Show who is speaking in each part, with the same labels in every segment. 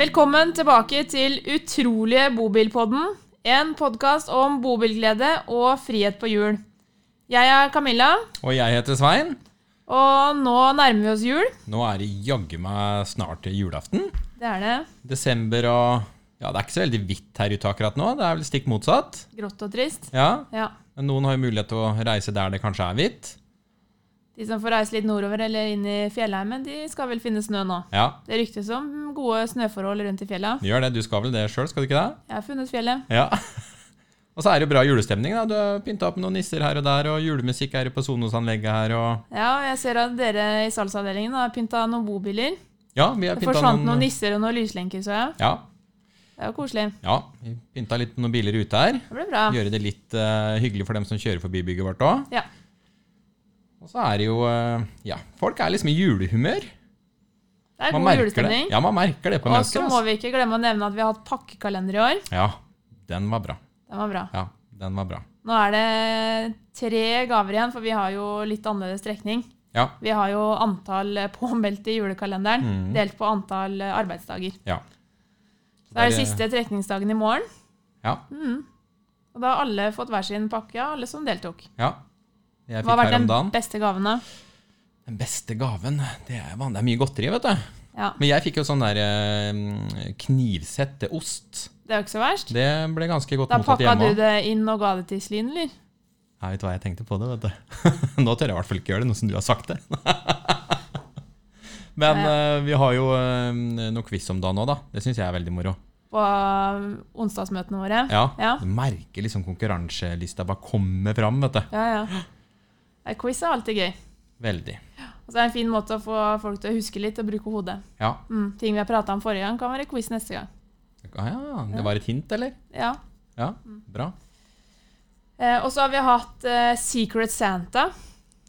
Speaker 1: Velkommen tilbake til Utrolige bobilpodden. En podkast om bobilglede og frihet på hjul. Jeg er Camilla,
Speaker 2: Og jeg heter Svein.
Speaker 1: og nå nærmer vi oss jul.
Speaker 2: Nå er det jaggu meg snart til julaften.
Speaker 1: Det er det.
Speaker 2: Desember og Ja, det er ikke så veldig hvitt her ute akkurat nå. Det er vel stikk motsatt.
Speaker 1: Grått og trist.
Speaker 2: Ja,
Speaker 1: Ja.
Speaker 2: Men noen har jo mulighet til å reise der det kanskje er hvitt.
Speaker 1: De som får reise litt nordover eller inn i fjellheimen, de skal vel finne snø nå.
Speaker 2: Ja,
Speaker 1: Det ryktes om gode snøforhold rundt i fjella.
Speaker 2: du gjør det. Du skal vel det sjøl, skal du ikke det?
Speaker 1: Jeg har funnet fjellet.
Speaker 2: Ja. Og så er det jo bra julestemning. da. Du har pynta opp med noen nisser her og der, og julemusikk er det på Sonos-anlegget her, og
Speaker 1: Ja, og jeg ser at dere i salgsavdelingen har pynta noen bobiler.
Speaker 2: Ja, vi har eh,
Speaker 1: Det
Speaker 2: pynta
Speaker 1: forsvant noen nisser og noen lyslenker, så jeg.
Speaker 2: Ja,
Speaker 1: Det er jo koselig.
Speaker 2: ja. Vi pynta litt noen biler ute her.
Speaker 1: Det ble bra.
Speaker 2: Gjøre det litt eh, hyggelig for dem som kjører forbi bygget vårt òg.
Speaker 1: Ja.
Speaker 2: Og så er det jo eh, Ja, folk er liksom i julehumør.
Speaker 1: Det er
Speaker 2: Man
Speaker 1: god
Speaker 2: merker det.
Speaker 1: julestemning.
Speaker 2: Ja, man merker det på
Speaker 1: Og så
Speaker 2: mennesker.
Speaker 1: må
Speaker 2: Altså.
Speaker 1: vi ikke glemme å nevne at vi har hatt pakkekalender i år.
Speaker 2: Ja, den var bra.
Speaker 1: Den var bra.
Speaker 2: Ja, den var bra.
Speaker 1: Nå er det tre gaver igjen, for vi har jo litt annerledes trekning.
Speaker 2: Ja,
Speaker 1: Vi har jo antall eh, påmeldte i julekalenderen
Speaker 2: Mm.
Speaker 1: delt på antall eh, arbeidsdager.
Speaker 2: ja.
Speaker 1: Så det er det siste trekningsdagen i morgen,
Speaker 2: Ja,
Speaker 1: og da har alle fått hver sin pakke, ja, alle som deltok.
Speaker 2: ja. Jeg
Speaker 1: Hva har
Speaker 2: fikk
Speaker 1: vært
Speaker 2: her om
Speaker 1: den
Speaker 2: dagen.
Speaker 1: beste gaven, da?
Speaker 2: Den beste gaven Det er, van- det er mye godteri, vet du.
Speaker 1: Ja,
Speaker 2: Men jeg fikk jo sånn der eh, knivsett til ost.
Speaker 1: det er jo ikke så verst.
Speaker 2: Det ble ganske godt
Speaker 1: Da
Speaker 2: mottatt
Speaker 1: pakka du
Speaker 2: hjemme òg.
Speaker 1: det inn og ga det til Slien, eller?
Speaker 2: Jeg vet du hva jeg tenkte på det, vet du. Nå tør jeg i hvert fall ikke gjøre det, nå som du har sagt det. Men eh, vi har jo eh, noe quiz om dagen òg, da. Det syns jeg er veldig moro.
Speaker 1: På um, onsdagsmøtene våre.
Speaker 2: Ja.
Speaker 1: Ja.
Speaker 2: Du merker liksom konkurranselista bare komme fram, vet du.
Speaker 1: ja, ja. Nei, Quiz er alltid gøy.
Speaker 2: Veldig.
Speaker 1: Og så er det en fin måte å få folk til å huske litt og bruke hodet.
Speaker 2: Ja.
Speaker 1: Mm, ting vi har prata om forrige gang, kan være quiz neste gang.
Speaker 2: Ah, ja. Det var et hint, eller?
Speaker 1: Ja.
Speaker 2: Ja, bra.
Speaker 1: Eh, og så har vi hatt eh, Secret Santa.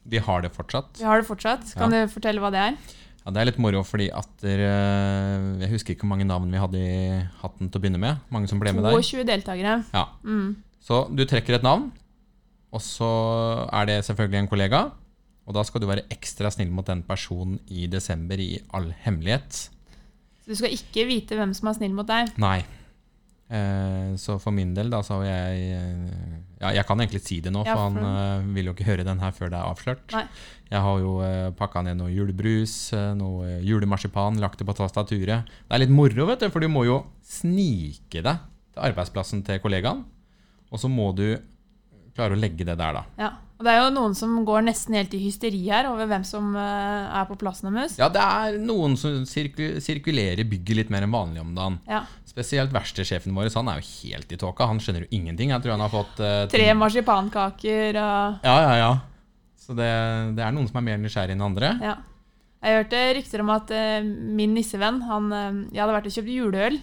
Speaker 2: Vi har det fortsatt.
Speaker 1: Vi har det fortsatt. Kan du fortelle hva det er?
Speaker 2: Ja, Det er litt moro fordi at dere, eh, Jeg husker ikke hvor mange navn vi hadde i hatten til å begynne med. Mange som ble med der.
Speaker 1: 22 deltakere.
Speaker 2: Ja.
Speaker 1: Mm.
Speaker 2: Så du trekker et navn, og så er det selvfølgelig en kollega. Og da skal du være ekstra snill mot den personen i desember i all hemmelighet.
Speaker 1: Så du skal ikke vite hvem som er snill mot deg.
Speaker 2: Nei. Eh, så for min del, da, så har jeg eh, Ja, jeg kan egentlig si det nå,
Speaker 1: Ja,
Speaker 2: for han
Speaker 1: for-
Speaker 2: eh, vil jo ikke høre den her før det er avslørt.
Speaker 1: Nei.
Speaker 2: Jeg har jo eh, pakka ned noe julebrus, eh, noe eh, julemarsipan, lagt det på tastaturet. Det er litt moro, vet du, for du må jo snike deg til arbeidsplassen til kollegaen. Og så må du klare å legge det der, da.
Speaker 1: Ja. Og det er jo noen som går nesten helt i hysteri her over hvem som eh, er på plassen deres.
Speaker 2: Ja, det er noen som sirku sirkulerer bygget litt mer enn vanlig om dagen.
Speaker 1: Ja.
Speaker 2: Spesielt verkstedsjefen vår, så han er jo helt i tåka. Han skjønner jo ingenting. Jeg tror han har fått eh,
Speaker 1: Tre marsipankaker og
Speaker 2: Ja, ja, ja. Så det, det er noen som er mer nysgjerrig enn andre.
Speaker 1: Ja. Jeg hørte rykter om at eh, min nissevenn han, eh, Jeg hadde vært og kjøpt juleøl,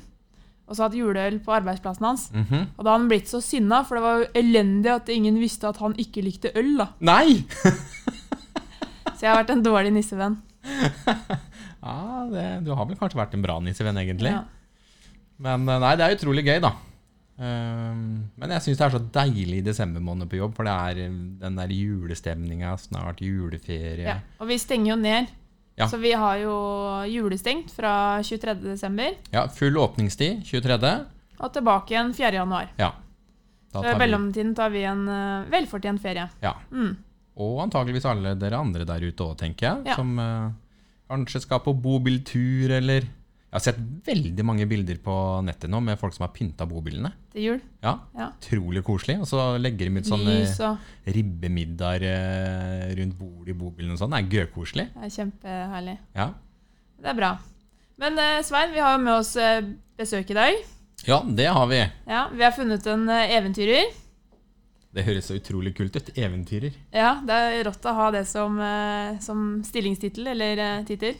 Speaker 1: og så hatt juleøl på arbeidsplassen hans.
Speaker 2: Mhm.
Speaker 1: Og da hadde han blitt så sinna, for det var jo elendig at ingen visste at han ikke likte øl. da.
Speaker 2: Nei!
Speaker 1: Så jeg har vært en dårlig nissevenn.
Speaker 2: Ja, det, Du har vel kanskje vært en bra nissevenn, egentlig.
Speaker 1: Ja.
Speaker 2: Men eh, nei, det er utrolig gøy, da. Ehm, men jeg syns det er så deilig i desember måned på jobb, for det er eh, den der julestemninga, snart juleferie.
Speaker 1: Ja. Og vi stenger jo ned.
Speaker 2: Ja.
Speaker 1: Så vi har jo julestengt fra 23.12.
Speaker 2: Ja, full åpningstid 23.
Speaker 1: og tilbake igjen 4.1.
Speaker 2: Ja. Da
Speaker 1: Så i
Speaker 2: tar vi,
Speaker 1: mellomtiden tar vi en eh, velfortjent ferie.
Speaker 2: ja.
Speaker 1: Mm.
Speaker 2: Og antageligvis alle dere andre der ute òg, tenker jeg.
Speaker 1: Ja.
Speaker 2: Som eh, kanskje skal på bobiltur, eller Jeg har sett veldig mange bilder på nettet nå med folk som har pynta bobilene.
Speaker 1: Til jul.
Speaker 2: Ja,
Speaker 1: Ja.
Speaker 2: Utrolig koselig. Og så legger de ut sånne
Speaker 1: Lys og
Speaker 2: ribbemiddager eh, rundt bordet i bobilen og sånn. Det er gøykoselig.
Speaker 1: Det er kjempeherlig.
Speaker 2: Ja.
Speaker 1: Det er bra. Men eh, Svein, vi har jo med oss eh, besøk i dag.
Speaker 2: ja, det har vi.
Speaker 1: Ja, Vi har funnet en eh, eventyrer.
Speaker 2: Det høres så utrolig kult ut. Eventyrer.
Speaker 1: Ja, Det er rått å ha det som, eh, som stillingstittel, eller eh, tittel.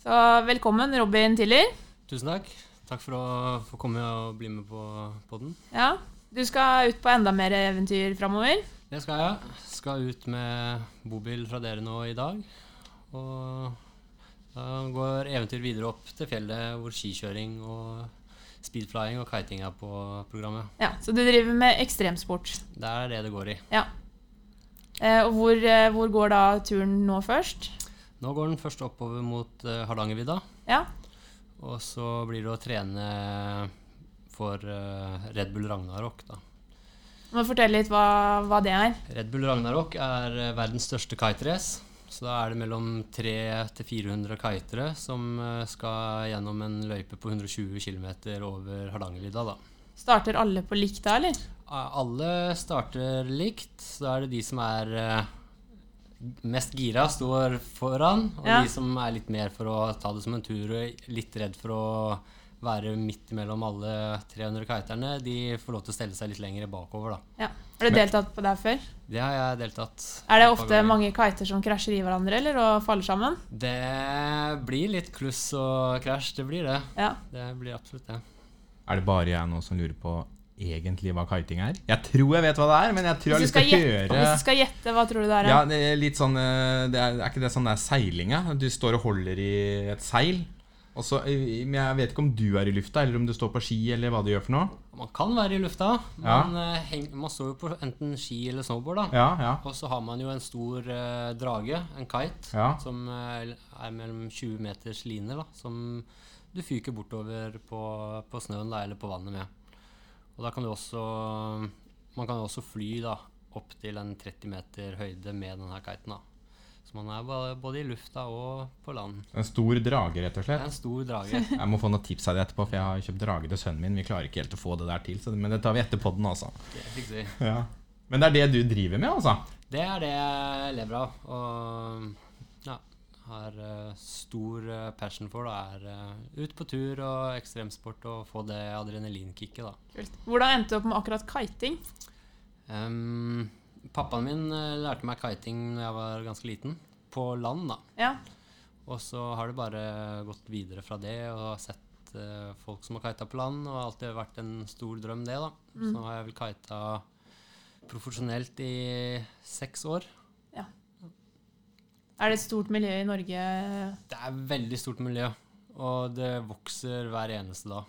Speaker 1: Så velkommen, Robin Tiller.
Speaker 3: Tusen takk. Takk for å få komme og bli med på podden.
Speaker 1: Ja, Du skal ut på enda mer eventyr framover.
Speaker 3: Det skal jeg. Skal ut med bobil fra dere nå i dag. Og da går eventyr videre opp til fjellet hvor skikjøring og speedflying og kiting er på programmet.
Speaker 1: Ja, Så du driver med ekstremsport.
Speaker 3: Det er det det går i.
Speaker 1: Ja. Eh, og hvor, eh, hvor går da turen nå først?
Speaker 3: Nå går den først oppover mot eh, Hardangervidda.
Speaker 1: Ja,
Speaker 3: Og så blir det å trene for eh, Red Bull Ragnarok, da.
Speaker 1: Må du fortelle litt hva, hva det er?
Speaker 3: Red Bull Ragnarok er eh, verdens største kiterace. Så da er det mellom 300 til 400 kitere som eh, skal gjennom en løype på 120 km over Hardangervidda, da.
Speaker 1: Starter alle på likt da, eller?
Speaker 3: Eh, Alle starter likt, så da er det de som er eh, mest gira, står foran, og
Speaker 1: Ja.
Speaker 3: de som er litt mer for å ta det som en tur og litt redd for å være midt mellom alle 300 kiterne, de får lov til å stelle seg litt lenger bakover, da.
Speaker 1: Ja. Har du deltatt på det her før?
Speaker 3: Det har jeg deltatt
Speaker 1: Er det
Speaker 3: et par
Speaker 1: ofte
Speaker 3: ganger.
Speaker 1: mange kiter som krasjer i hverandre, eller og faller sammen?
Speaker 3: Det blir litt kluss og krasj, det blir det.
Speaker 1: Ja.
Speaker 3: Det blir absolutt det.
Speaker 2: Er det bare jeg nå som lurer på egentlig hva kiting er? Jeg tror jeg vet hva det er, men jeg tror jeg har
Speaker 1: Hvis du
Speaker 2: lyst
Speaker 1: skal
Speaker 2: til å
Speaker 1: gjette,
Speaker 2: høre
Speaker 1: hvis du skal gjette, hva tror du det er?
Speaker 2: Ja,
Speaker 1: da?
Speaker 2: det er litt sånn eh, det er, er ikke det sånn der seilinga? Du står og holder i et seil. Og så, eh, men jeg vet ikke om du er i lufta, eller om du står på ski, eller hva du gjør for noe.
Speaker 3: Man kan være i lufta,
Speaker 2: Ja.
Speaker 3: men eh, heng, man står jo på enten ski eller snowboard, da.
Speaker 2: Ja, ja.
Speaker 3: Og så har man jo en stor eh, drage, en kite,
Speaker 2: Ja.
Speaker 3: som eh, er mellom 20 meters liner, da, som du fyker bortover på, på snøen da, eller på vannet med. Og da kan du også Man kan jo også fly da, opp til en 30 meter høyde med denne kiten. da. Så man er ba- både i lufta og på land.
Speaker 2: En stor drage, rett og
Speaker 3: Det er
Speaker 2: slett.
Speaker 3: en stor drage.
Speaker 2: Jeg må få noen tips av deg etterpå, for jeg har kjøpt drage til sønnen min. Vi klarer ikke helt å få det der til, så, men det tar vi etter podden, altså.
Speaker 3: Det fikser vi.
Speaker 2: Ja. Men det er det du driver med, altså?
Speaker 3: Det er det jeg lever av. Og ja, har eh, stor eh, passion for. Da, er eh, ut på tur og ekstremsport og få det adrenalinkicket, da.
Speaker 1: Kult. Hvordan endte du opp med akkurat kiting?
Speaker 3: Ehm, pappaen min eh, lærte meg kiting da jeg var ganske liten. På land, da.
Speaker 1: Ja.
Speaker 3: Og så har det bare gått videre fra det og har sett eh, folk som har kita på land, og alltid har vært en stor drøm, det, da. Så nå har jeg vel kita profesjonelt i seks år.
Speaker 1: Er det et stort miljø i Norge?
Speaker 3: Det er et veldig stort miljø, og det vokser hver eneste dag.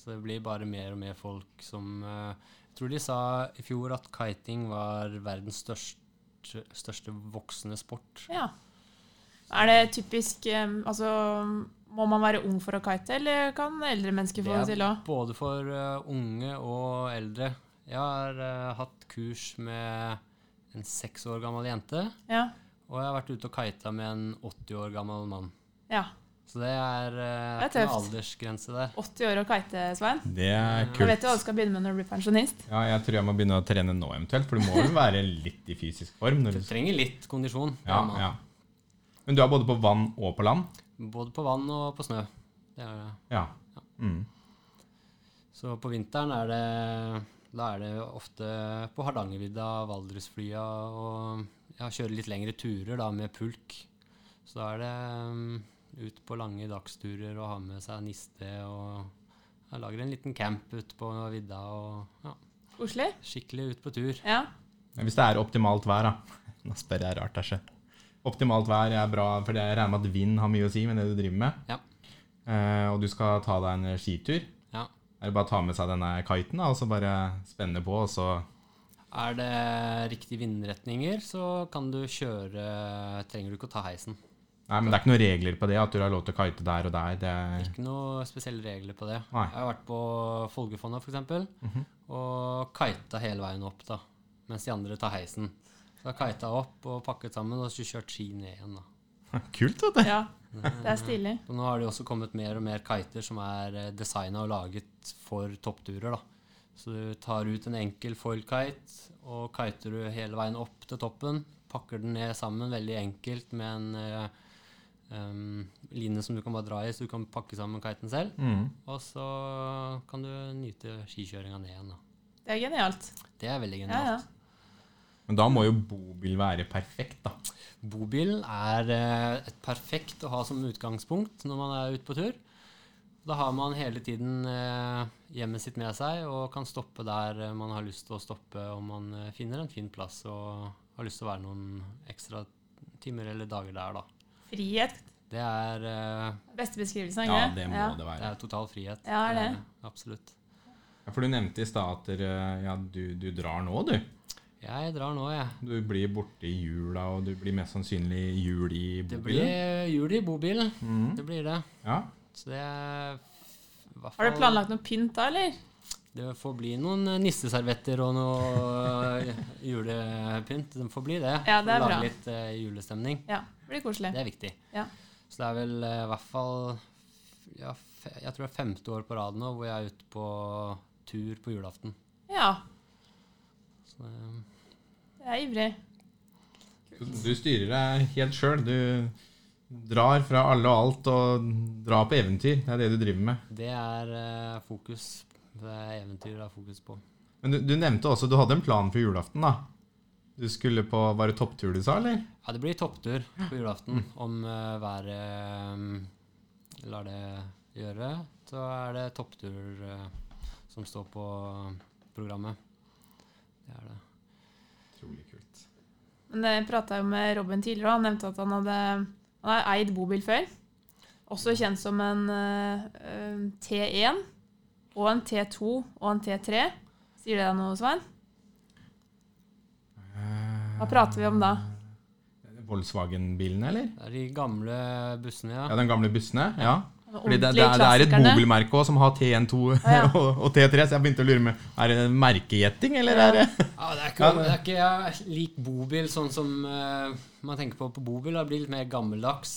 Speaker 3: Så det blir bare mer og mer folk som eh, Jeg tror de sa i fjor at kiting var verdens største, største voksende sport.
Speaker 1: Ja. Er det typisk eh, Altså, må man være ung for å kite, eller kan eldre mennesker få det til òg?
Speaker 3: både for eh, unge og eldre. Jeg har eh, hatt kurs med en seks år gammel jente,
Speaker 1: Ja.
Speaker 3: og jeg har vært ute og kita med en 80 år gammel mann.
Speaker 1: ja.
Speaker 3: Så det er, eh,
Speaker 1: Det er
Speaker 3: ikke noen
Speaker 1: tøft.
Speaker 3: aldersgrense der. 80
Speaker 1: 80 år og kite, Svein.
Speaker 2: Det
Speaker 1: Da
Speaker 2: er
Speaker 1: vet
Speaker 2: kult.
Speaker 1: du hva du skal begynne med når du blir pensjonist.
Speaker 2: Ja, jeg tror jeg må begynne å trene nå eventuelt, for du må jo være litt i fysisk form. Når
Speaker 3: Du
Speaker 2: du...
Speaker 3: trenger litt kondisjon.
Speaker 2: Ja,
Speaker 3: gammel.
Speaker 2: ja. Men du er både på vann og på land?
Speaker 3: Både på vann og på snø. Det er det.
Speaker 2: Ja. Mm.
Speaker 3: Så på vinteren er det Da er det ofte på Hardangervidda, Valdresflya og ja, kjøre litt lengre turer da med pulk. Så da er det mm, ut på lange dagsturer og ha med seg niste og ja, lager en liten camp ute på vidda og ja,
Speaker 1: Koselig?
Speaker 3: skikkelig ut på tur.
Speaker 1: Ja.
Speaker 2: Ja, Hvis det er optimalt vær, da. Nå spør jeg rart, Asje. Optimalt vær er bra, for jeg regner med at vind har mye å si med det du driver med.
Speaker 3: Ja.
Speaker 2: Eh, og du skal ta deg en skitur.
Speaker 3: Ja.
Speaker 2: Er det bare å ta med seg denne kiten da, og så bare spenne på, og så
Speaker 3: Er det riktige vindretninger, så kan du kjøre Trenger du ikke å ta heisen.
Speaker 2: Nei, men det er ikke noen regler på det, at du har lov til å kite der og der. Det er...
Speaker 3: Ikke noe spesielle regler på det.
Speaker 2: Nei.
Speaker 3: Jeg har vært på Folgefonna f.eks. eksempel og kita hele veien opp, da. Mens de andre tar heisen. Så jeg har kita opp og pakket sammen og så kjørt ski ned igjen, da.
Speaker 2: Kult, vet du.
Speaker 1: ja. Det er stilig.
Speaker 3: Og nå har det jo også kommet mer og mer kiter som er designa og laget for toppturer, da. Så du tar ut en enkel foil-kite og kiter du hele veien opp til toppen. Pakker den ned sammen veldig enkelt med en eh, em, line som du kan bare dra i, så du kan pakke sammen kiten selv.
Speaker 2: Mm.
Speaker 3: Og så kan du nyte skikjøringa ned igjen. da.
Speaker 1: Det er genialt.
Speaker 3: Det er veldig
Speaker 1: Ja, ja.
Speaker 3: genialt.
Speaker 2: Men da må jo bobil være perfekt, da.
Speaker 3: Bobilen er eh, et perfekt å ha som utgangspunkt når man er ute på tur. Da har man hele tiden eh, hjemmet sitt med seg og kan stoppe der eh, man har lyst til å stoppe om man eh, finner en fin plass og har lyst til å være noen ekstra timer eller dager der, da.
Speaker 1: Frihet.
Speaker 3: Det er, eh,
Speaker 1: Beste beskrivelsen,
Speaker 2: Ja,
Speaker 1: ikke
Speaker 2: det må det
Speaker 3: det
Speaker 2: være.
Speaker 3: er total frihet. Eh,
Speaker 1: Ja, er det?
Speaker 3: Absolutt.
Speaker 2: Ja, For du nevnte i stad at dere- ja, du, du drar nå, du.
Speaker 3: Jeg drar nå, jeg.
Speaker 2: Du blir borte i jula, og du blir mest sannsynlig jul i
Speaker 3: Det
Speaker 2: bobilen. Mm.
Speaker 3: blir jul i bobilen. Det blir det.
Speaker 2: Ja.
Speaker 3: Så det er f- i hvert
Speaker 1: Har du
Speaker 3: fall-
Speaker 1: planlagt noe pynt da, eller?
Speaker 3: Det får bli noen eh, nisseservietter og noe eh, julepynt. Det får bli det.
Speaker 1: Ja, det er
Speaker 3: Lage
Speaker 1: bra.
Speaker 3: litt eh, julestemning.
Speaker 1: Ja, det blir koselig.
Speaker 3: Det er viktig.
Speaker 1: Ja.
Speaker 3: Så det er vel eh, i hvert fall ja, fe, Jeg tror det er femte år på rad nå hvor jeg er ute på tur på julaften.
Speaker 1: Ja,
Speaker 3: Så, eh,
Speaker 1: jeg er ivrig.
Speaker 2: Du styrer deg helt sjøl. Du drar fra alle og alt og drar på eventyr. Det er det du driver med.
Speaker 3: det er eh, fokus. Det er eventyr det er fokus på.
Speaker 2: Men du, du nevnte også du hadde en plan for julaften, da. Du skulle på Var det topptur du sa, eller?
Speaker 3: Ja, det blir topptur på julaften om eh, været eh, lar det gjøre. Så er det topptur eh, som står på eh, programmet. Det er det.
Speaker 2: Utrolig kult.
Speaker 1: Men jeg prata jo med Robin tidligere, og han nevnte at han hadde han har eid bobil før. Også kjent som en eh, eh, T1 og en T2 og en T3. Sier det deg noe, Svein?
Speaker 2: Eh,
Speaker 1: Hva prater vi om da?
Speaker 2: Volkswagen-bilen, eller?
Speaker 3: Det er de gamle bussene, ja.
Speaker 2: Ja, den gamle bussene? Ja. Fordi det, det,
Speaker 1: Ordentlige
Speaker 2: er, det er et
Speaker 1: klassikerne.
Speaker 2: bobilmerke også som har T12
Speaker 1: ja.
Speaker 2: og, og T3, så jeg begynte å lure med Er det merkegjetting, eller er det
Speaker 3: Ja, det er ikke, det er ikke jeg lik bobil, sånn som eh, man tenker på på bobil. da. Det blir litt mer gammeldags.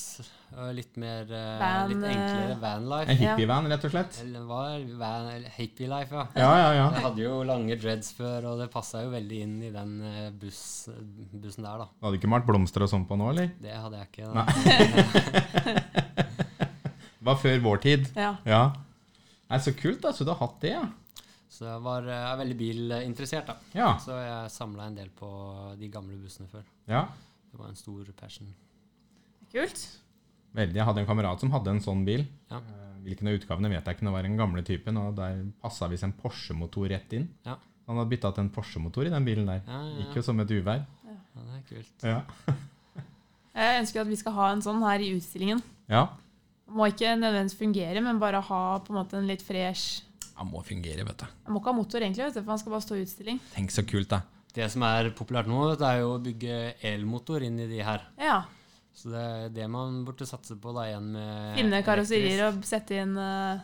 Speaker 3: og Litt mer eh,
Speaker 1: Van,
Speaker 3: litt
Speaker 1: eh,
Speaker 3: enklere vanlife.
Speaker 2: en hippievan, rett og slett?
Speaker 3: Eller hva er van, hippie life, ja.
Speaker 2: Ja, ja, ja.
Speaker 3: Jeg hadde jo lange dreads før, og det passa jo veldig inn i den eh, buss, bussen der, da.
Speaker 2: Du hadde ikke malt blomster og sånn på nå, eller?
Speaker 3: Det hadde jeg ikke.
Speaker 2: Nei.
Speaker 3: Da.
Speaker 2: Det var før vår tid.
Speaker 1: Ja.
Speaker 2: Ja. Nei, så kult, da. Så du har hatt det, ja.
Speaker 3: Så jeg var, eh, er veldig bilinteressert, da.
Speaker 2: Ja.
Speaker 3: Så jeg samla en del på de gamle bussene før.
Speaker 2: ja.
Speaker 3: Det var en stor passion.
Speaker 1: Kult.
Speaker 2: Veldig. Jeg hadde en kamerat som hadde en sånn bil.
Speaker 3: Ja.
Speaker 2: Eh, Hvilken av utgavene vet jeg ikke, det var den gamle typen, og der passa visst en Porsche-motor rett inn.
Speaker 3: Ja.
Speaker 2: Han hadde bytta til en Porsche-motor i den bilen der.
Speaker 3: Ja, ja,
Speaker 2: Gikk jo som et uvær.
Speaker 3: ja, det er kult.
Speaker 2: Ja.
Speaker 1: Jeg ønsker at vi skal ha en sånn her i utstillingen.
Speaker 2: ja.
Speaker 1: Må ikke nødvendigvis fungere, men bare ha på en måte en litt fresh
Speaker 2: Han må fungere, vet du.
Speaker 1: Jeg må ikke ha motor, egentlig, vet du, for han skal bare stå i utstilling.
Speaker 2: Tenk så kult, da.
Speaker 3: Det som er populært nå, vet du, er jo å bygge elmotor inn i de her.
Speaker 1: Ja.
Speaker 3: Så det er det man burde satse på da igjen med
Speaker 1: Finne karosserier
Speaker 3: Eh, elektrisk.
Speaker 1: og sette inn eh,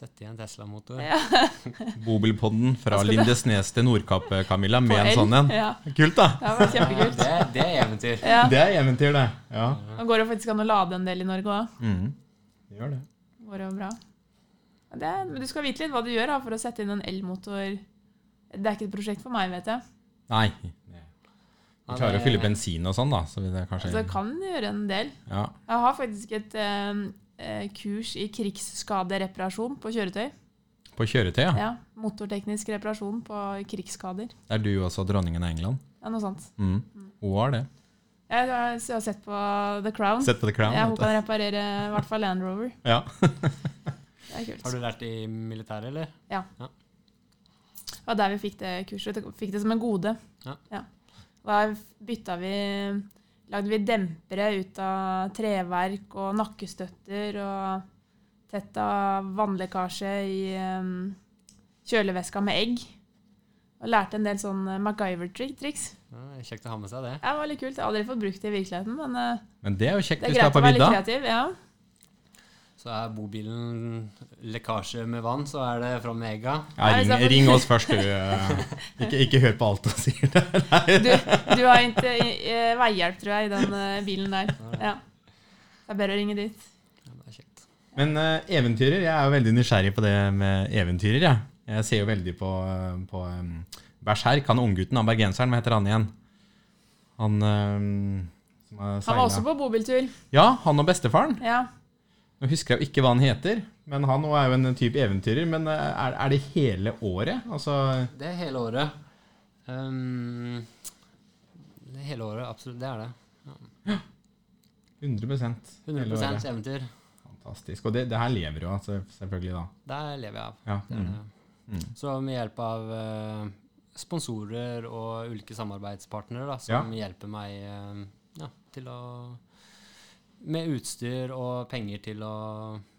Speaker 3: Sette i en Tesla-motor.
Speaker 1: Ja.
Speaker 2: Bobilpodden fra
Speaker 1: Da skal du-
Speaker 2: Lindesnes til Nordkapp, eh, Camilla, med
Speaker 1: på
Speaker 2: en
Speaker 1: el.
Speaker 2: sånn en.
Speaker 1: Ja.
Speaker 2: Kult, da.
Speaker 1: Det har vært
Speaker 3: Ja,
Speaker 1: kjempekult.
Speaker 3: det, det er eventyr.
Speaker 1: Ja.
Speaker 2: Det er eventyr, det. Ja.
Speaker 1: Nå går det faktisk an å lade en del i Norge òg.
Speaker 2: Mm. Det gjør det.
Speaker 1: Går det jo bra. Ja, Det, er- men du skal vite litt hva du gjør da, for å sette inn en elmotor. Det er ikke et prosjekt for meg, vet jeg.
Speaker 2: Nei. Vi
Speaker 3: Ja,
Speaker 2: klarer
Speaker 3: det-
Speaker 2: å fylle bensin og sånn, da. Så det er
Speaker 1: Altså,
Speaker 2: kanskje
Speaker 1: jeg kan gjøre en del.
Speaker 2: ja.
Speaker 1: Jeg har faktisk et eh, eh, kurs i krigsskadereparasjon på kjøretøy.
Speaker 2: På kjøretøy, ja.
Speaker 1: Ja, Motorteknisk reparasjon på krigsskader.
Speaker 2: Det er du også dronningen av England.
Speaker 1: Det er noe sånt.
Speaker 2: Mm. Hun har det.
Speaker 1: Jeg har jeg har sett på The Crown.
Speaker 2: Sett på The Crown.
Speaker 1: Ja, hun
Speaker 2: vet du.
Speaker 1: kan reparere i hvert fall Land Rover.
Speaker 2: Ja.
Speaker 1: Det er kult.
Speaker 3: Har du lært i militæret, eller?
Speaker 1: Det var der vi fikk det kurset. Vi Fikk det som en gode.
Speaker 3: Ja.
Speaker 1: Da bytta vi Lagde vi dempere ut av treverk og nakkestøtter og tetta vannlekkasje i em, kjøleveska med egg. Og lærte en del sånn MacGyver-triks.
Speaker 3: Ja, det er kjekt å ha med seg det.
Speaker 1: Det var litt kult. Jeg har aldri fått brukt det i virkeligheten, men eh,
Speaker 2: Men det er jo kjekt
Speaker 1: det er
Speaker 2: hvis du er
Speaker 1: greit å
Speaker 2: på
Speaker 1: være litt
Speaker 2: vidda.
Speaker 1: kreativ. Ja.
Speaker 3: Så er bobilen lekkasje med vann, så er det fram med egga.
Speaker 2: Ja,
Speaker 1: Nei,
Speaker 2: ring,
Speaker 1: hvis jeg får-
Speaker 2: ring oss først, du. eh. Ikke, ikke hør på alt hun sier. Nei.
Speaker 1: Du, du har ikke eh, veihjelp, tror jeg, i den eh, bilen der. Ja. Det er bedre å ringe dit.
Speaker 3: Ja, det er kjekt.
Speaker 2: Men eh, eventyrer, jeg er jo veldig nysgjerrig på det med eventyrer, jeg. Jeg ser jo veldig på, eh, på em, Berserk, han unggutten, han bergenseren, hva heter han igjen? Han em, som har
Speaker 1: Han var
Speaker 2: seilet.
Speaker 1: også på bobiltur.
Speaker 2: Ja, han og bestefaren.
Speaker 1: Ja.
Speaker 2: Nå husker jeg jo ikke hva han heter, men han også er jo en type eventyrer. Men eh, er, er det hele året? Altså
Speaker 3: Det er hele året. Ehm, det er hele året, absolutt. Det er det.
Speaker 2: 100 hele
Speaker 3: 100
Speaker 2: året.
Speaker 3: eventyr.
Speaker 2: Fantastisk. Og det, det her lever jo, altså, selvfølgelig, da.
Speaker 3: Der lever jeg av.
Speaker 2: Ja. Mm.
Speaker 3: Det er det. Så med hjelp av eh, sponsorer og ulike samarbeidspartnere da, som hjelper meg eh, ja, til å Med utstyr og penger til å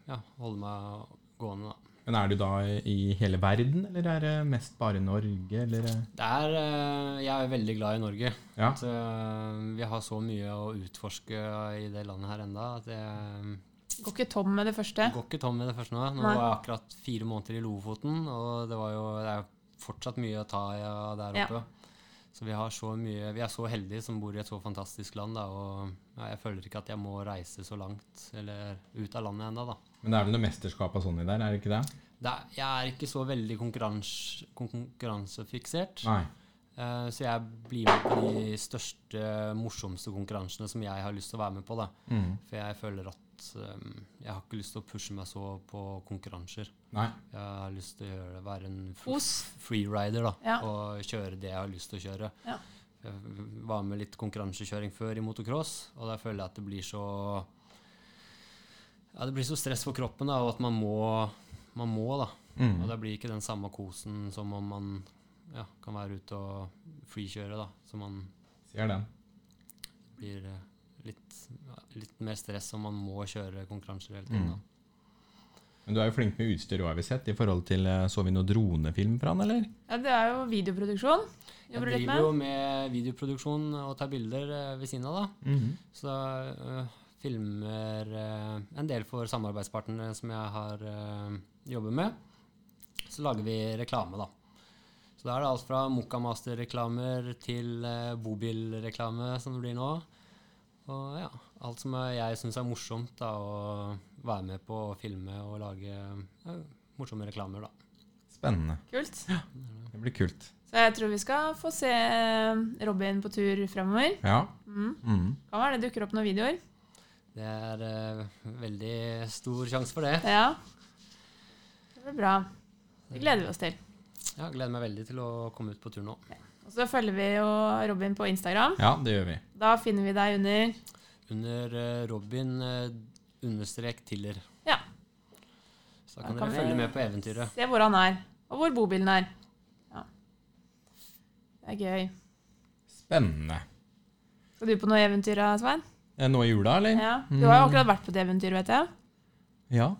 Speaker 3: ja, holde meg gående, da.
Speaker 2: Men er du da i hele verden, eller er det mest bare Norge, eller
Speaker 3: Det er, eh, jeg er veldig glad i Norge.
Speaker 2: Ja.
Speaker 3: At, eh, vi har så mye å utforske i det landet her enda at jeg,
Speaker 1: Går ikke tom med det første.
Speaker 3: Går ikke tom med det første nå. Nå
Speaker 1: Nei.
Speaker 3: var jeg akkurat fire måneder i Lofoten, og det, var jo, det er jo fortsatt mye å ta i av der
Speaker 1: Ja.
Speaker 3: oppe. Så vi, har så mye, vi er så heldige som bor i et så fantastisk land, da, og ja, jeg føler ikke at jeg må reise så langt, eller ut av landet ennå, da.
Speaker 2: Men det er vel noe mesterskap og sånn i der, er det ikke det?
Speaker 3: Det er, jeg er ikke så veldig konkurrans- konkurransefiksert.
Speaker 2: Nei.
Speaker 3: Eh, så jeg blir med på de største, morsomste konkurransene som jeg har lyst til å være med på. Da.
Speaker 2: Mhm.
Speaker 3: For jeg føler at eh, jeg har ikke lyst til å pushe meg så på konkurranser.
Speaker 2: Nei.
Speaker 3: Jeg har lyst til å gjøre det, være en f-
Speaker 1: Os.
Speaker 3: freerider da,
Speaker 1: Ja.
Speaker 3: og kjøre det jeg har lyst til å kjøre.
Speaker 1: Ja.
Speaker 3: Jeg var med litt konkurransekjøring før i motocross, og der føler jeg at det blir så ja, det blir så stress for kroppen, da, og at man må, man må da.
Speaker 2: Mhm.
Speaker 3: Og det blir ikke den samme kosen som om man ja, kan være ute og freekjøre, da. Så man
Speaker 2: Ser den.
Speaker 3: blir eh, litt, ja, litt mer stress om man må kjøre konkurranser hele tiden.
Speaker 2: Mm.
Speaker 3: da.
Speaker 2: Men du er jo flink med utstyr òg, har vi sett, i forhold til eh, Så vi noe dronefilm fra han, eller?
Speaker 1: Ja, det er jo videoproduksjon.
Speaker 3: Jeg
Speaker 1: Jobber du litt
Speaker 3: driver jo
Speaker 1: med?
Speaker 3: med videoproduksjon og tar bilder eh, ved siden av, da. Så da øh, filmer øh, en del for samarbeidspartnere som jeg har øh, jobbet med. Så lager vi reklame, da. Så da er det alt fra Mokkamaster-reklamer til øh, bobilreklame, som det blir nå. Og ja, alt som øh, jeg syns er morsomt da, å være med på å filme og lage øh, morsomme reklamer, da.
Speaker 2: Spennende.
Speaker 1: Kult.
Speaker 2: Det blir kult.
Speaker 1: Så jeg tror vi skal få se eh, Robin på tur fremover.
Speaker 2: Ja.
Speaker 1: Mm.
Speaker 2: Mhm.
Speaker 1: Kan være det dukker opp noen videoer.
Speaker 3: Det er øh, veldig stor sjanse for det.
Speaker 1: Ja. Det blir bra. Det gleder vi oss til.
Speaker 3: Jeg gleder meg veldig til å komme ut på tur nå.
Speaker 1: Og så følger vi jo Robin på Instagram.
Speaker 2: ja, det gjør vi.
Speaker 1: Da finner vi deg under
Speaker 3: Under eh, Robin eh, understrek Tiller.
Speaker 1: Ja.
Speaker 3: Så da kan,
Speaker 1: Da kan
Speaker 3: dere følge
Speaker 1: vi-
Speaker 3: med på eventyret.
Speaker 1: Se hvor han er, og hvor bobilen er. Ja. Det er gøy.
Speaker 2: Spennende.
Speaker 1: Skal du på noe eventyr, da, Svein?
Speaker 2: Eh, Nå i jula, eller?
Speaker 1: Ja. Du
Speaker 3: Mm.
Speaker 1: har jo akkurat vært på et eventyr, vet jeg.
Speaker 2: Ja.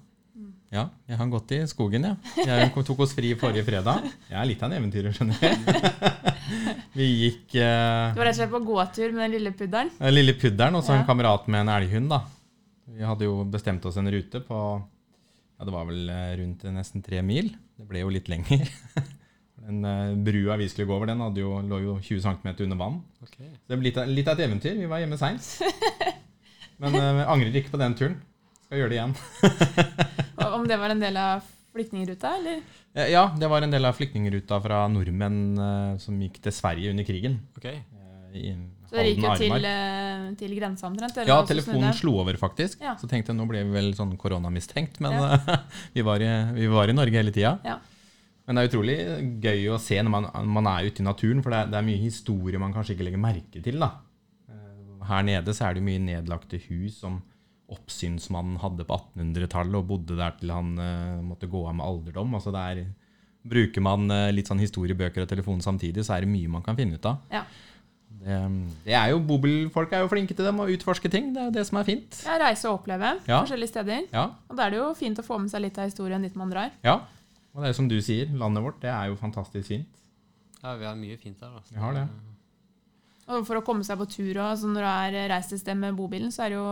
Speaker 2: Ja, jeg har gått i skogen, ja. Jeg kom- tok oss fri forrige fredag. Jeg er litt av en eventyrer, skjønner jeg. Vi gikk eh,
Speaker 1: Du var rett og slett på gåtur med den lille pudderen.
Speaker 2: den lille pudderen og så en
Speaker 1: Ja.
Speaker 2: kamerat med en elghund, da. Vi hadde jo bestemt oss en rute på Ja, det var vel eh, rundt nesten tre mil. Det ble jo litt lenger. Den eh, brua vi skulle gå over, den hadde jo, lå jo 20 cm under vann. Så det ble litt av- litt av et eventyr. Vi var hjemme seint. Men eh, jeg angrer ikke på den turen. Skal gjøre det igjen.
Speaker 1: Og Om det var en del av flyktningruta, eller?
Speaker 2: Eh, Ja, det var en del av flyktningruta fra nordmenn eh, som gikk til Sverige under krigen.
Speaker 3: Ok.
Speaker 2: eh, I
Speaker 1: Så dere gikk jo
Speaker 2: Halden,
Speaker 1: til,
Speaker 2: Aremark.
Speaker 1: eh, til grensa omtrent? eller
Speaker 2: Ja,
Speaker 1: hva som
Speaker 2: telefonen
Speaker 1: snudde?
Speaker 2: slo over, faktisk.
Speaker 1: Ja.
Speaker 2: Så tenkte jeg nå ble vi vel sånn koronamistenkt, men
Speaker 1: Ja.
Speaker 2: eh, vi, var i, vi var i Norge hele tida.
Speaker 1: Ja.
Speaker 2: Men det er utrolig gøy å se når man, man er ute i naturen, for det er, det er mye historie man kanskje ikke legger merke til. da. Eh, Her nede så er det jo mye nedlagte hus som oppsynsmannen hadde på 1800-tallet og bodde der til han eh, måtte gå av med alderdom. Altså det er, Bruker man eh, litt sånn historiebøker og telefon samtidig, så er det mye man kan finne ut av.
Speaker 1: Ja.
Speaker 2: Det, det er jo, Bobilfolk er jo flinke til dem å utforske ting. Det er jo det som er fint.
Speaker 1: ja, reise og oppleve
Speaker 2: Ja.
Speaker 1: forskjellige steder.
Speaker 2: Ja,
Speaker 1: Og da er det jo fint å få med seg litt av historien dit man drar.
Speaker 2: ja. Og det er jo som du sier, landet vårt det er jo fantastisk fint.
Speaker 3: Ja, vi har mye fint her. Altså.
Speaker 2: Vi har det.
Speaker 1: Og for å komme seg på tur og altså når du er reist et sted med bobilen, så er det jo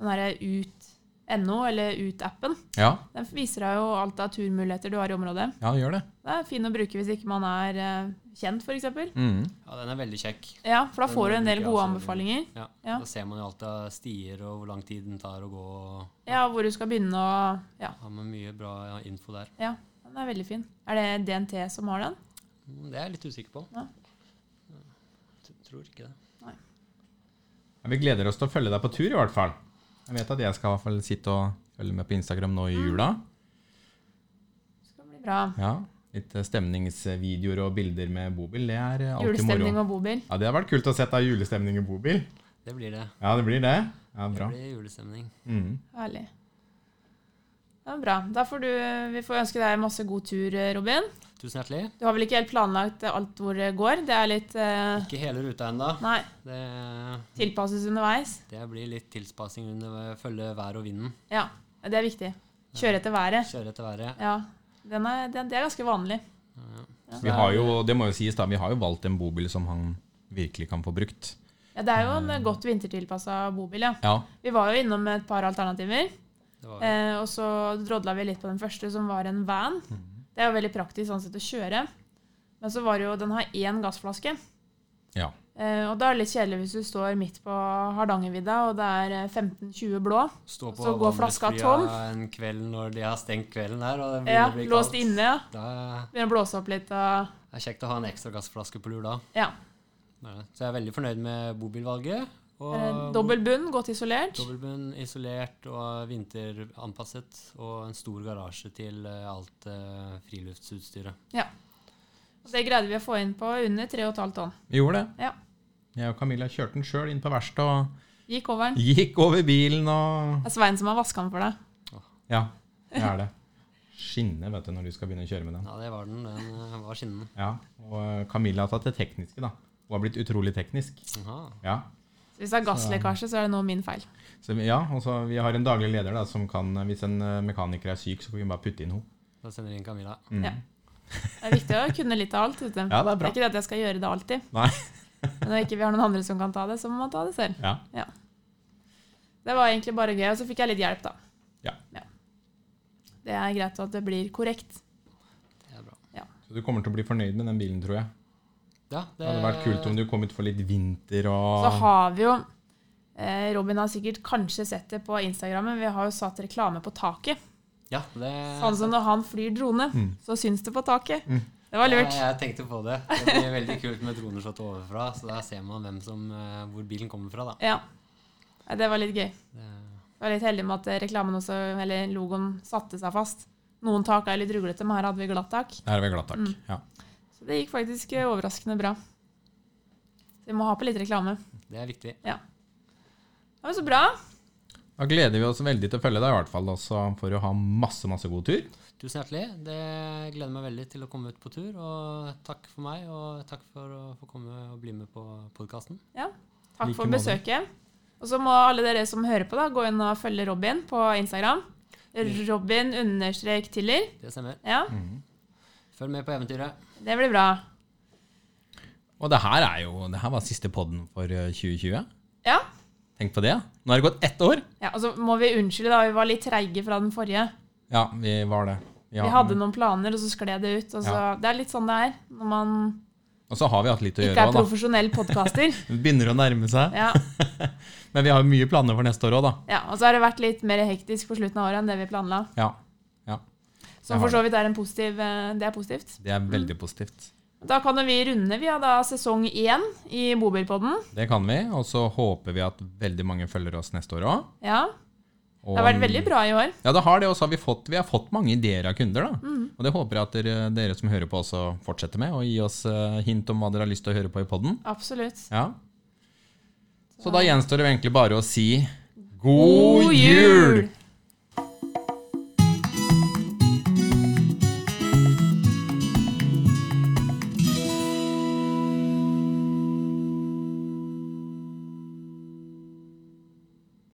Speaker 1: den derre ut.no, eller ut-appen.
Speaker 2: Ja,
Speaker 1: Den viser deg jo alt av turmuligheter du har i området.
Speaker 2: ja det gjør det.
Speaker 1: Det er fin å bruke hvis ikke man er eh, kjent, f.eks.
Speaker 2: Mhm.
Speaker 3: Ja, den er veldig kjekk.
Speaker 1: Ja, for da
Speaker 3: Den
Speaker 1: får du en del
Speaker 3: bruker jeg
Speaker 1: gode
Speaker 3: også
Speaker 2: altså.
Speaker 3: veldig.
Speaker 1: anbefalinger.
Speaker 3: Ja.
Speaker 1: Ja.
Speaker 3: Da ser man jo alt av stier og hvor lang tid den tar å gå. og
Speaker 1: Ja, hvor du skal begynne og Ja,
Speaker 3: Har man mye bra ja, info der.
Speaker 1: ja den er veldig fin. Er det DNT som har den?
Speaker 3: Mm, Det er jeg litt usikker på.
Speaker 1: Ja.
Speaker 3: T- Tror ikke det.
Speaker 2: Ja, Vi gleder oss til å følge deg på tur, i hvert fall. Jeg vet at jeg skal i hvert fall sitte og følge med på Instagram nå
Speaker 1: Mm.
Speaker 2: i jula.
Speaker 1: Det skal bli bra.
Speaker 2: Ja, Litt eh, stemningsvideoer og bilder med bobil, det er eh, alltid moro.
Speaker 1: Julestemning og bobil.
Speaker 2: Ja, Det hadde vært kult å sette av julestemning i bobil.
Speaker 3: Det blir det.
Speaker 2: Ja, det blir det. Ja,
Speaker 3: Det
Speaker 2: bra.
Speaker 3: blir julestemning.
Speaker 2: Mhm.
Speaker 1: Herlig. Det er bra. Da får du, vi får ønske deg masse god tur, eh, Robin.
Speaker 3: Tusen hjertelig.
Speaker 1: Du har vel ikke helt planlagt eh, alt hvor det går? Det er litt eh,
Speaker 3: Ikke hele ruta ennå.
Speaker 1: Nei.
Speaker 3: Det,
Speaker 1: Tilpasses underveis.
Speaker 3: det blir litt tilspassing under følge vær og vinden.
Speaker 1: Ja, det er viktig. Kjøre etter været.
Speaker 3: Kjøre etter været.
Speaker 1: Ja. Den er, den, det er ganske vanlig.
Speaker 2: Vi har jo, det må jo sies da, vi har jo valgt en bobil som han virkelig kan få brukt.
Speaker 1: Ja, det er jo en godt vintertilpassa eh, bobil, ja.
Speaker 2: Ja,
Speaker 1: Vi var jo innom et par alternativer.
Speaker 3: Det var
Speaker 1: Eh, og så drodla vi litt på den første, som var en van.
Speaker 3: Mhm.
Speaker 1: Det er jo veldig praktisk sånn sett å kjøre. Men så var det jo Den har én gassflaske.
Speaker 2: Ja.
Speaker 1: Eh, og da er det litt kjedelig hvis du står midt på Hardangervidda, og det er eh, 15-20 blå.
Speaker 3: Stå på
Speaker 1: så går flaska
Speaker 3: vandreflya en kveld når de har stengt kvelden der. Og det
Speaker 1: Ja,
Speaker 3: begynner å bli
Speaker 1: låst
Speaker 3: kaldt.
Speaker 1: inne. Ja.
Speaker 3: Da
Speaker 1: Begynner å blåse opp litt. Og,
Speaker 3: er det kjekt å ha en ekstra gassflaske på lur da.
Speaker 1: ja.
Speaker 3: Det er det. Så jeg er veldig fornøyd med bobilvalget. Og
Speaker 1: Eh, Dobbel bunn, godt isolert.
Speaker 3: dobbeltbunn, isolert og vinteranpasset. Og en stor garasje til eh, alt eh, friluftsutstyret.
Speaker 1: Og det greide vi å få inn på under 3,5 tonn.
Speaker 2: Vi gjorde det.
Speaker 1: Ja.
Speaker 2: Jeg og Camilla kjørte den sjøl inn på verkstedet og
Speaker 1: Gikk over den.
Speaker 2: gikk over bilen og
Speaker 1: Det er Svein som har vaska den for deg.
Speaker 2: Ja, det er det. Skinne, vet du, når du skal begynne å kjøre med den.
Speaker 3: Ja, det var den. Den eh, var skinnende.
Speaker 2: Ja, Og eh, Camilla har tatt det tekniske, da. Hun har blitt utrolig teknisk.
Speaker 3: Aha.
Speaker 2: Ja,
Speaker 1: Så hvis det er gasslekkasje, så er det nå min feil.
Speaker 2: så, vi- ja og så Vi har en daglig leder da, som kan Hvis en eh, mekaniker er syk, så kan vi bare putte inn henne.
Speaker 3: Da sender vi inn Camilla.
Speaker 1: Det er viktig å kunne litt av alt. Vet du.
Speaker 2: Ja, det er
Speaker 1: Det
Speaker 2: bra.
Speaker 1: er ikke det at jeg skal gjøre det alltid.
Speaker 2: Nei.
Speaker 1: Men når ikke vi har noen andre som kan ta det, så må man ta det selv.
Speaker 2: Ja.
Speaker 1: Det var egentlig bare gøy, og så fikk jeg litt hjelp, da.
Speaker 2: Ja.
Speaker 1: Det er greit at det blir korrekt.
Speaker 3: Det er bra.
Speaker 2: Så du kommer til å bli fornøyd med den bilen, tror jeg.
Speaker 3: Ja,
Speaker 2: Det hadde vært kult om du kom ut for litt vinter
Speaker 1: Så
Speaker 2: og
Speaker 1: har vi jo eh, Robin har sikkert kanskje sett det på Instagram, men vi har jo satt reklame på taket.
Speaker 3: Ja, det
Speaker 1: Sånn som når han flyr drone,
Speaker 2: Mm.
Speaker 1: så syns det på taket. Det var
Speaker 3: Ja,
Speaker 1: lurt.
Speaker 3: jeg tenkte på det. Det blir veldig kult med droneslått overfra. Så der ser man hvem som, eh, hvor bilen kommer fra, da.
Speaker 1: Ja. Nei, Det var litt gøy.
Speaker 3: Det,
Speaker 1: Jeg var litt heldig med at eh, reklamen også, eller logoen satte seg fast. Noen tak er litt ruglete, men her hadde vi glatt tak.
Speaker 2: Der er vi glad, takk. Ja.
Speaker 1: Så det gikk faktisk eh, overraskende bra. Så vi må ha på litt reklame.
Speaker 3: det er viktig.
Speaker 1: Ja, men Så bra.
Speaker 2: Da gleder vi oss veldig til å følge deg, i hvert fall. Og så får du ha masse, masse god tur.
Speaker 3: Tusen hjertelig. Det gleder meg veldig til å komme ut på tur. Og takk for meg, og takk for å få komme og bli med på podkasten.
Speaker 1: Ja. Takk
Speaker 2: Like
Speaker 1: for
Speaker 2: måte.
Speaker 1: besøket. Og så må alle dere som hører på, da, gå inn og følge Robin på Instagram.
Speaker 2: Mm.
Speaker 1: Robin understrek Tiller.
Speaker 3: Det stemmer.
Speaker 1: Ja,
Speaker 3: Følg med på eventyret.
Speaker 1: det blir bra.
Speaker 2: Og det her er jo Det her var siste podden for eh, 2020.
Speaker 1: Ja.
Speaker 2: Tenk på det. ja. Nå har det gått ett år.
Speaker 1: ja. Og så må vi unnskylde, da. Vi var litt treige fra den forrige.
Speaker 2: Ja, vi var det. Vi
Speaker 1: Vi
Speaker 2: har-
Speaker 1: hadde noen planer, og så skled det ut. Og så, Det er litt sånn det er når man
Speaker 2: Og så har vi hatt litt å
Speaker 1: ikke
Speaker 2: gjøre
Speaker 1: er
Speaker 2: òg, da.
Speaker 1: profesjonell podkaster.
Speaker 2: Det begynner å nærme seg.
Speaker 1: Ja.
Speaker 2: Men vi har jo mye planer for neste år òg, da.
Speaker 1: ja. Og så har det vært litt mer hektisk på slutten av året enn det vi planla.
Speaker 2: Ja, ja.
Speaker 1: Som for så vidt er en positiv eh, Det er positivt.
Speaker 2: Det er veldig
Speaker 1: Mm.
Speaker 2: positivt.
Speaker 1: Da kan jo vi runde, vi har da sesong én i Bobilpodden.
Speaker 2: Det kan vi. Og så håper vi at veldig mange følger oss neste år òg.
Speaker 1: Ja. Det har vært veldig bra i år.
Speaker 2: Ja, det har det. Og så har vi fått, vi har fått mange ideer av kunder. da.
Speaker 1: Mm.
Speaker 2: Og det håper jeg at dere, dere som hører på, også fortsetter med. Og gi oss eh, hint om hva dere har lyst til å høre på i poden.
Speaker 1: Absolutt.
Speaker 2: Ja. Så da gjenstår det egentlig bare å si
Speaker 1: God jul!